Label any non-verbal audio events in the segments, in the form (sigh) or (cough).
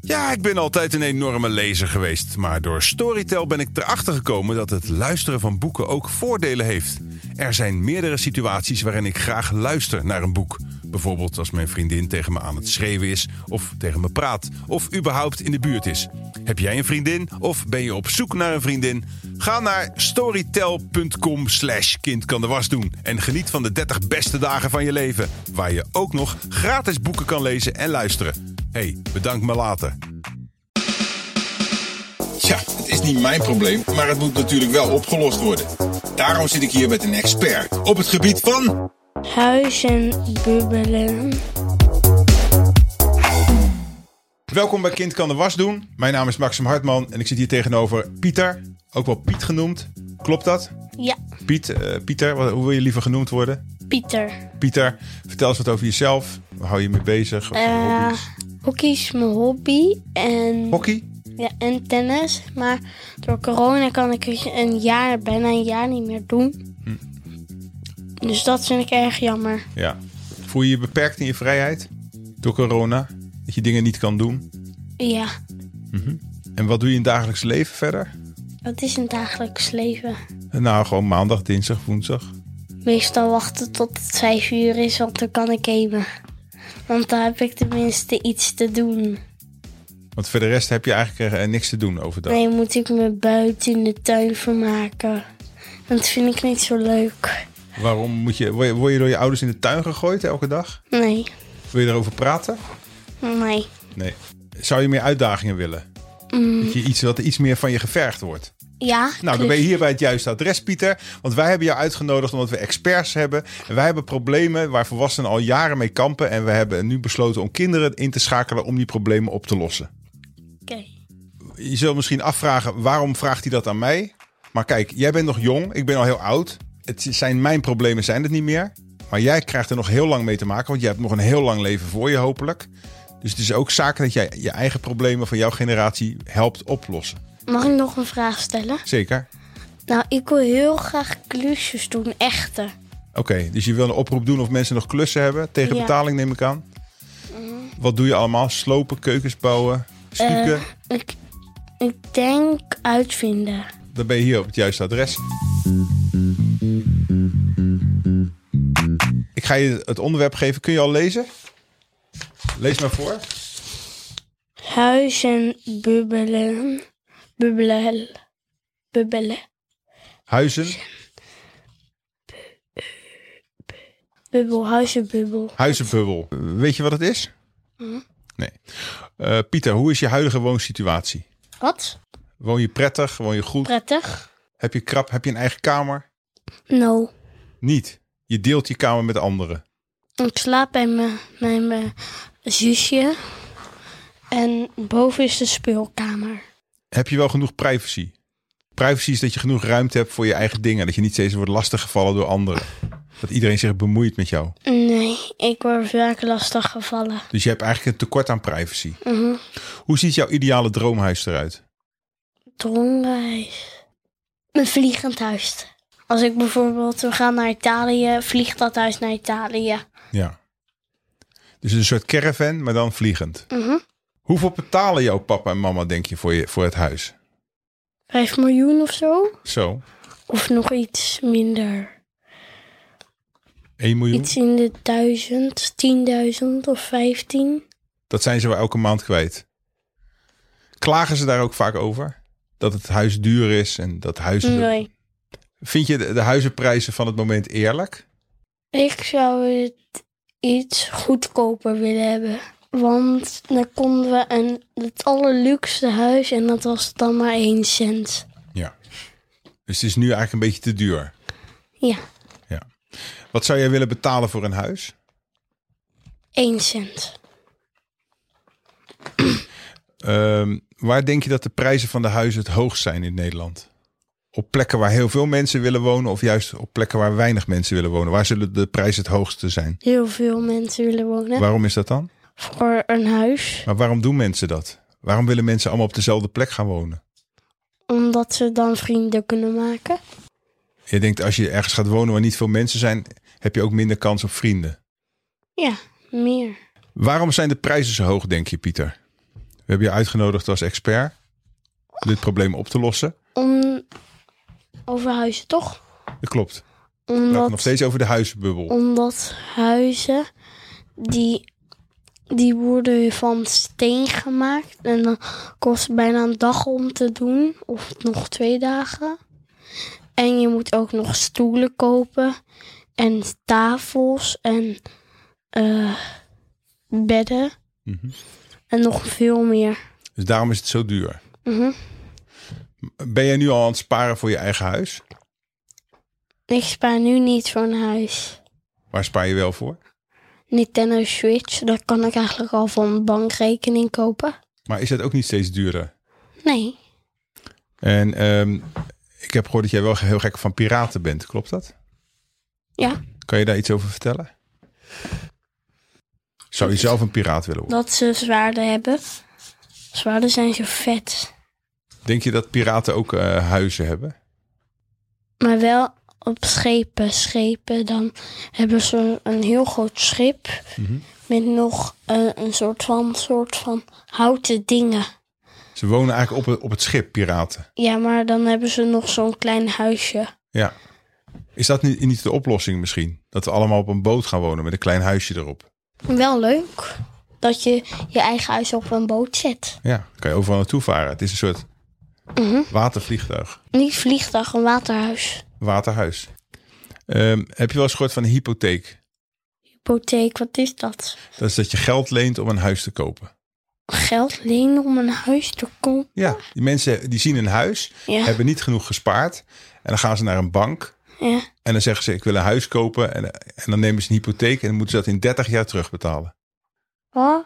Ja, ik ben altijd een enorme lezer geweest. Maar door Storytel ben ik erachter gekomen dat het luisteren van boeken ook voordelen heeft. Er zijn meerdere situaties waarin ik graag luister naar een boek. Bijvoorbeeld als mijn vriendin tegen me aan het schreeuwen is, of tegen me praat, of überhaupt in de buurt is. Heb jij een vriendin of ben je op zoek naar een vriendin? Ga naar storytel.com slash kind kan de was doen en geniet van de 30 beste dagen van je leven. Waar je ook nog gratis boeken kan lezen en luisteren. hey, bedankt me later. Ja, het is niet mijn probleem, maar het moet natuurlijk wel opgelost worden. Daarom zit ik hier met een expert op het gebied van. Huizen bubbelen. Welkom bij Kind kan de was doen. Mijn naam is Maxim Hartman en ik zit hier tegenover Pieter, ook wel Piet genoemd. Klopt dat? Ja, Piet, eh, Pieter, wat- hoe wil je liever genoemd worden? Pieter. Pieter, vertel eens wat over jezelf. Waar hou je mee bezig? Wat zijn je Eh, hobby's? hockey is mijn hobby en, Hockey? ja, en tennis. Maar door corona kan ik het een jaar, bijna een jaar niet meer doen. Dus dat vind ik erg jammer. Ja. Voel je je beperkt in je vrijheid door corona? Dat je dingen niet kan doen? Ja, En wat doe je in het dagelijks leven verder? dat is een dagelijks leven. Nou, gewoon maandag, dinsdag, woensdag. Meestal wachten tot het vijf uur is, want dan kan ik gamen. Want dan heb ik tenminste iets te doen. Want voor de rest heb je eigenlijk eh, niks te doen overdag. Nee, moet ik me buiten in de tuin vermaken. Dat vind ik niet zo leuk. Waarom moet je, word je- word je door je ouders in de tuin gegooid elke dag? Nee, Wil je erover praten? nee. Nee. Zou je meer uitdagingen willen? Dat, je iets, dat er iets meer van je gevergd wordt? Ja, Nou, dan ben je hier bij het juiste adres, Pieter. Want wij hebben jou uitgenodigd omdat we experts hebben. En wij hebben problemen waar volwassenen al jaren mee kampen. En we hebben nu besloten om kinderen in te schakelen om die problemen op te lossen. Oké. Je zult misschien afvragen, waarom vraagt hij dat aan mij? Maar kijk, jij bent nog jong, ik ben al heel oud. Het zijn mijn problemen, zijn het niet meer. Maar jij krijgt er nog heel lang mee te maken, want jij hebt nog een heel lang leven voor je hopelijk. Dus het is ook zaak dat jij je eigen problemen van jouw generatie helpt oplossen. Mag ik nog een vraag stellen? Zeker? Nou, ik wil heel graag klusjes doen, echte. Oké, dus je wil een oproep doen of mensen nog klussen hebben. Tegen Ja. betaling neem ik aan. Wat doe je allemaal? Slopen, keukens bouwen, stukken. Ik, ik denk uitvinden. Dan ben je hier op het juiste adres. Ik ga je het onderwerp geven. Kun je al lezen? Lees maar voor. Huizen bubbelen. Bubbelen. Bubbelen. Huizen, Bubbel, huizenbubbel. huizenbubbel. Eh, Weet je wat het is? Nee. Eh, Pieter, hoe is je huidige woonsituatie? Wat? Woon je prettig? Woon je goed? Prettig? Heb je krap? Heb je een eigen kamer? No. Niet. Je deelt je kamer met anderen. Ik slaap bij mijn, bij mijn zusje. En boven is de speelkamer. heb je wel genoeg privacy? Privacy is dat je genoeg ruimte hebt voor je eigen dingen. Dat je niet steeds wordt lastiggevallen door anderen. Dat iedereen zich bemoeit met jou. Nee, ik word vaak lastig gevallen. Mhm. Dus je hebt eigenlijk een tekort aan privacy. Hoe ziet jouw ideale droomhuis eruit? Droomreis. Een vliegend huis. Als ik bijvoorbeeld, we gaan naar Italië, vliegt dat huis naar Italië. Ja. Dus een soort caravan, maar dan vliegend. Mhm. Hoeveel betalen jouw papa en mama, denk je, voor, je, voor het huis? Vijf miljoen of zo? Zo, Of nog iets minder. 1 miljoen. Iets in de duizend, tienduizend of vijftien. Dat zijn ze wel elke maand kwijt. Klagen ze daar ook vaak over? Dat het huis duur is en dat huizen... Nee. Vind je de, de huizenprijzen van het moment eerlijk? Ik zou het iets goedkoper willen hebben. Want dan konden we een, het allerluxe huis en dat was dan maar één cent. Ja. Dus het is nu eigenlijk een beetje te duur. Ja, Ja. Wat zou jij willen betalen voor een huis? één cent. Ehm, waar denk je dat de prijzen van de huizen het hoogst zijn in Nederland? Op plekken waar heel veel mensen willen wonen of juist op plekken waar weinig mensen willen wonen? Waar zullen de prijzen het hoogste zijn? Heel veel mensen willen wonen Waarom is dat dan? voor een huis. Maar waarom doen mensen dat? Waarom willen mensen allemaal op dezelfde plek gaan wonen? Omdat ze dan vrienden kunnen maken. Je denkt als je ergens gaat wonen waar niet veel mensen zijn, heb je ook minder kans op vrienden. Ja, meer. Waarom zijn de prijzen zo hoog, denk je, Pieter? We hebben je uitgenodigd als expert om dit probleem op te lossen. Om, over huizen, toch? Dat klopt. We praten nog Omdat, steeds over de huizenbubbel. omdat huizen, die, die worden van steen gemaakt. En dan kost het bijna een dag om te doen. Of nog twee dagen. En je moet ook nog stoelen kopen. En tafels en eh, bedden. Mhm. En nog veel meer. Dus daarom is het zo duur. Mhm. Ben jij nu al aan het sparen voor je eigen huis? Ik spaar nu niet voor een huis. Waar spaar je wel voor? Nintendo Switch, dat kan ik eigenlijk al van een bankrekening kopen. Maar is dat ook niet steeds duurder? Nee, En ehm, ik heb gehoord dat jij wel heel gek van piraten bent. Klopt dat? ja, Kan je daar iets over vertellen? Zou je zelf een piraat willen worden? dat ze zwaarden hebben. Zwaarden zijn zo vet. Denk je dat piraten ook eh, huizen hebben? Maar wel op schepen. Schepen, dan hebben ze een heel groot schip. Met nog eh, een soort van, soort van houten dingen. Ze wonen eigenlijk op het, op het schip, piraten. Ja, maar dan hebben ze nog zo'n klein huisje. Ja. Is dat niet, niet de oplossing misschien? Dat we allemaal op een boot gaan wonen met een klein huisje erop. Wel leuk dat je je eigen huis op een boot zet. Ja, dan kan je overal naartoe varen. Het is een soort watervliegtuig, Niet vliegtuig, een waterhuis. waterhuis. Ehm, heb je wel eens gehoord van een hypotheek? Hypotheek, wat is dat? Dat is dat je geld leent om een huis te kopen. Geld lenen om een huis te kopen? Ja, die mensen die zien een huis, Ja. hebben niet genoeg gespaard. En dan gaan ze naar een bank Ja. en dan zeggen ze ik wil een huis kopen. En, en dan nemen ze een hypotheek en dan moeten ze dat in 30 jaar terugbetalen. Huh?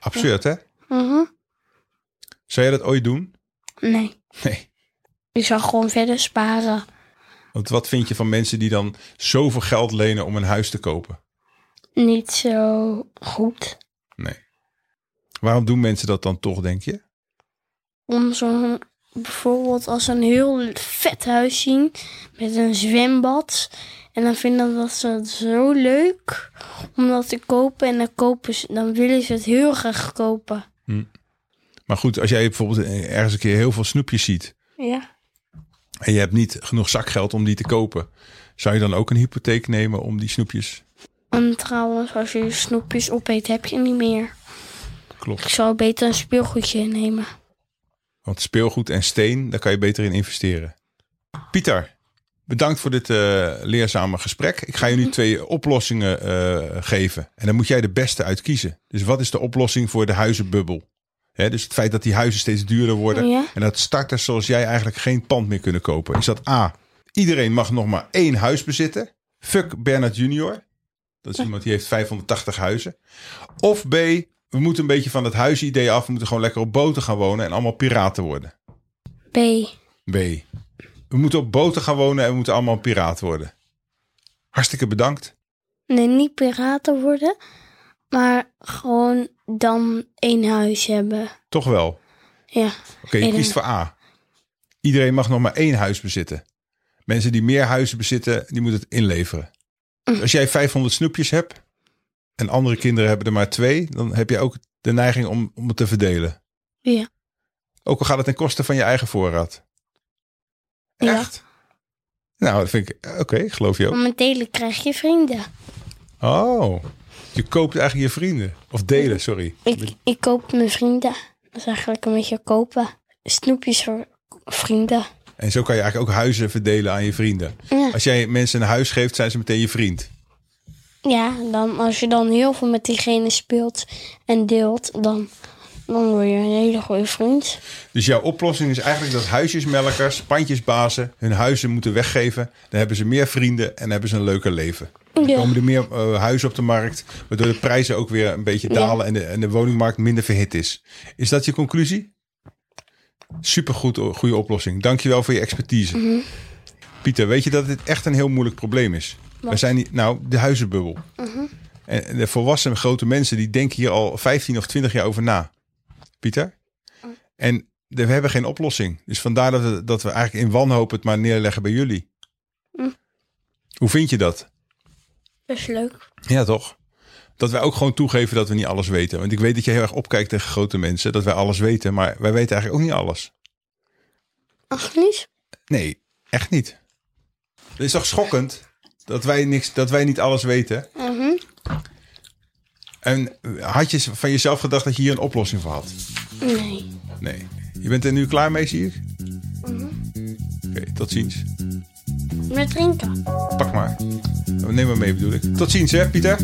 Absurd hè? Mhm. Zou jij dat ooit doen? (laughs) Nee, Nee. ik zou gewoon verder sparen. Want wat vind je van mensen die dan zoveel geld lenen om een huis te kopen? Niet zo goed. Nee. Waarom doen mensen dat dan toch, denk je? Om zo'n, bijvoorbeeld als ze een heel vet huis zien met een zwembad. En dan vinden dat ze het zo leuk om dat te kopen. En dan, kopen ze, dan willen ze het heel graag kopen. Maar goed, als jij bijvoorbeeld ergens een keer heel veel snoepjes ziet Ja. en je hebt niet genoeg zakgeld om die te kopen, zou je dan ook een hypotheek nemen om die snoepjes? En trouwens, als je je snoepjes opeet, heb je niet meer. Ik Klopt. zou beter een speelgoedje nemen. Want speelgoed en steen, daar kan je beter in investeren. Pieter, bedankt voor dit eh, leerzame gesprek. Ik ga je nu twee oplossingen eh, geven. En dan moet jij de beste uit kiezen. Dus wat is de oplossing voor de huizenbubbel? Hè, dus het feit dat die huizen steeds duurder worden. Ja. En dat starters zoals jij eigenlijk geen pand meer kunnen kopen. Is dat A. Iedereen mag nog maar één huis bezitten. Fuck Bernard Junior. Dat is iemand die heeft 580 huizen. Of B. We moeten een beetje van het huisidee af. We moeten gewoon lekker op boten gaan wonen en allemaal piraten worden. B. B. We moeten op boten gaan wonen en we moeten allemaal piraat worden. Hartstikke bedankt. Nee, niet piraten worden, maar gewoon dan één huis hebben. Toch wel. Oké, Ja, eh, je Iedereen- kiest voor A. Iedereen mag nog maar één huis bezitten. Mensen die meer huizen bezitten, die moeten het inleveren. Dus als jij 500 snoepjes hebt en andere kinderen hebben er maar twee, dan heb je ook de neiging om, om het te verdelen. ja, Ook al gaat het ten koste van je eigen voorraad. Ja. Mm. Echt? Nou, dat vind ik. Oké, ik geloof je ook. Want met delen krijg je vrienden. Oh, je koopt eigenlijk je vrienden. Of Mm. delen, sorry. Ik, ik koop mijn vrienden. Dat is eigenlijk een beetje kopen. Snoepjes voor vrienden. En zo kan je eigenlijk ook huizen verdelen aan je vrienden. Ja. Als jij mensen een huis geeft, zijn ze meteen je vriend. Ja, dan, als je dan heel veel met diegene speelt en deelt, dan, dan word je een hele goede vriend. Dus jouw oplossing is eigenlijk dat huisjesmelkers, pandjesbazen hun huizen moeten weggeven. Dan hebben ze meer vrienden en hebben ze een leuker leven. Dan Ja. komen er meer eh, huizen op de markt, waardoor de prijzen ook weer een beetje dalen en, de, en de woningmarkt minder verhit is. Is dat je conclusie? Supergoed, o- goede oplossing. Dankjewel voor je expertise. Pieter, weet je dat dit echt een heel moeilijk probleem is? We zijn niet, nou, de huizenbubbel. En en de volwassenen, grote mensen, die denken hier al 15 of 20 jaar over na. Pieter? En de- we hebben geen oplossing. Dus vandaar dat we, dat we eigenlijk in wanhoop het maar neerleggen bij jullie. Hoe vind je dat? Dat is leuk. Ja, toch? dat wij ook gewoon toegeven dat we niet alles weten. Want ik weet dat je heel erg opkijkt tegen grote mensen, dat wij alles weten. Maar wij weten eigenlijk ook niet alles. Ach, niet? Nee, echt niet. Het is toch schokkend dat wij, niks, dat wij niet alles weten? Mhm. En had je van jezelf gedacht dat je hier een oplossing voor had? Nee. Nee. Je bent er nu klaar mee, zie ik? Oké, tot ziens. Met drinken. Pak maar. Neem maar mee, bedoel ik. Tot ziens, hè, Pieter?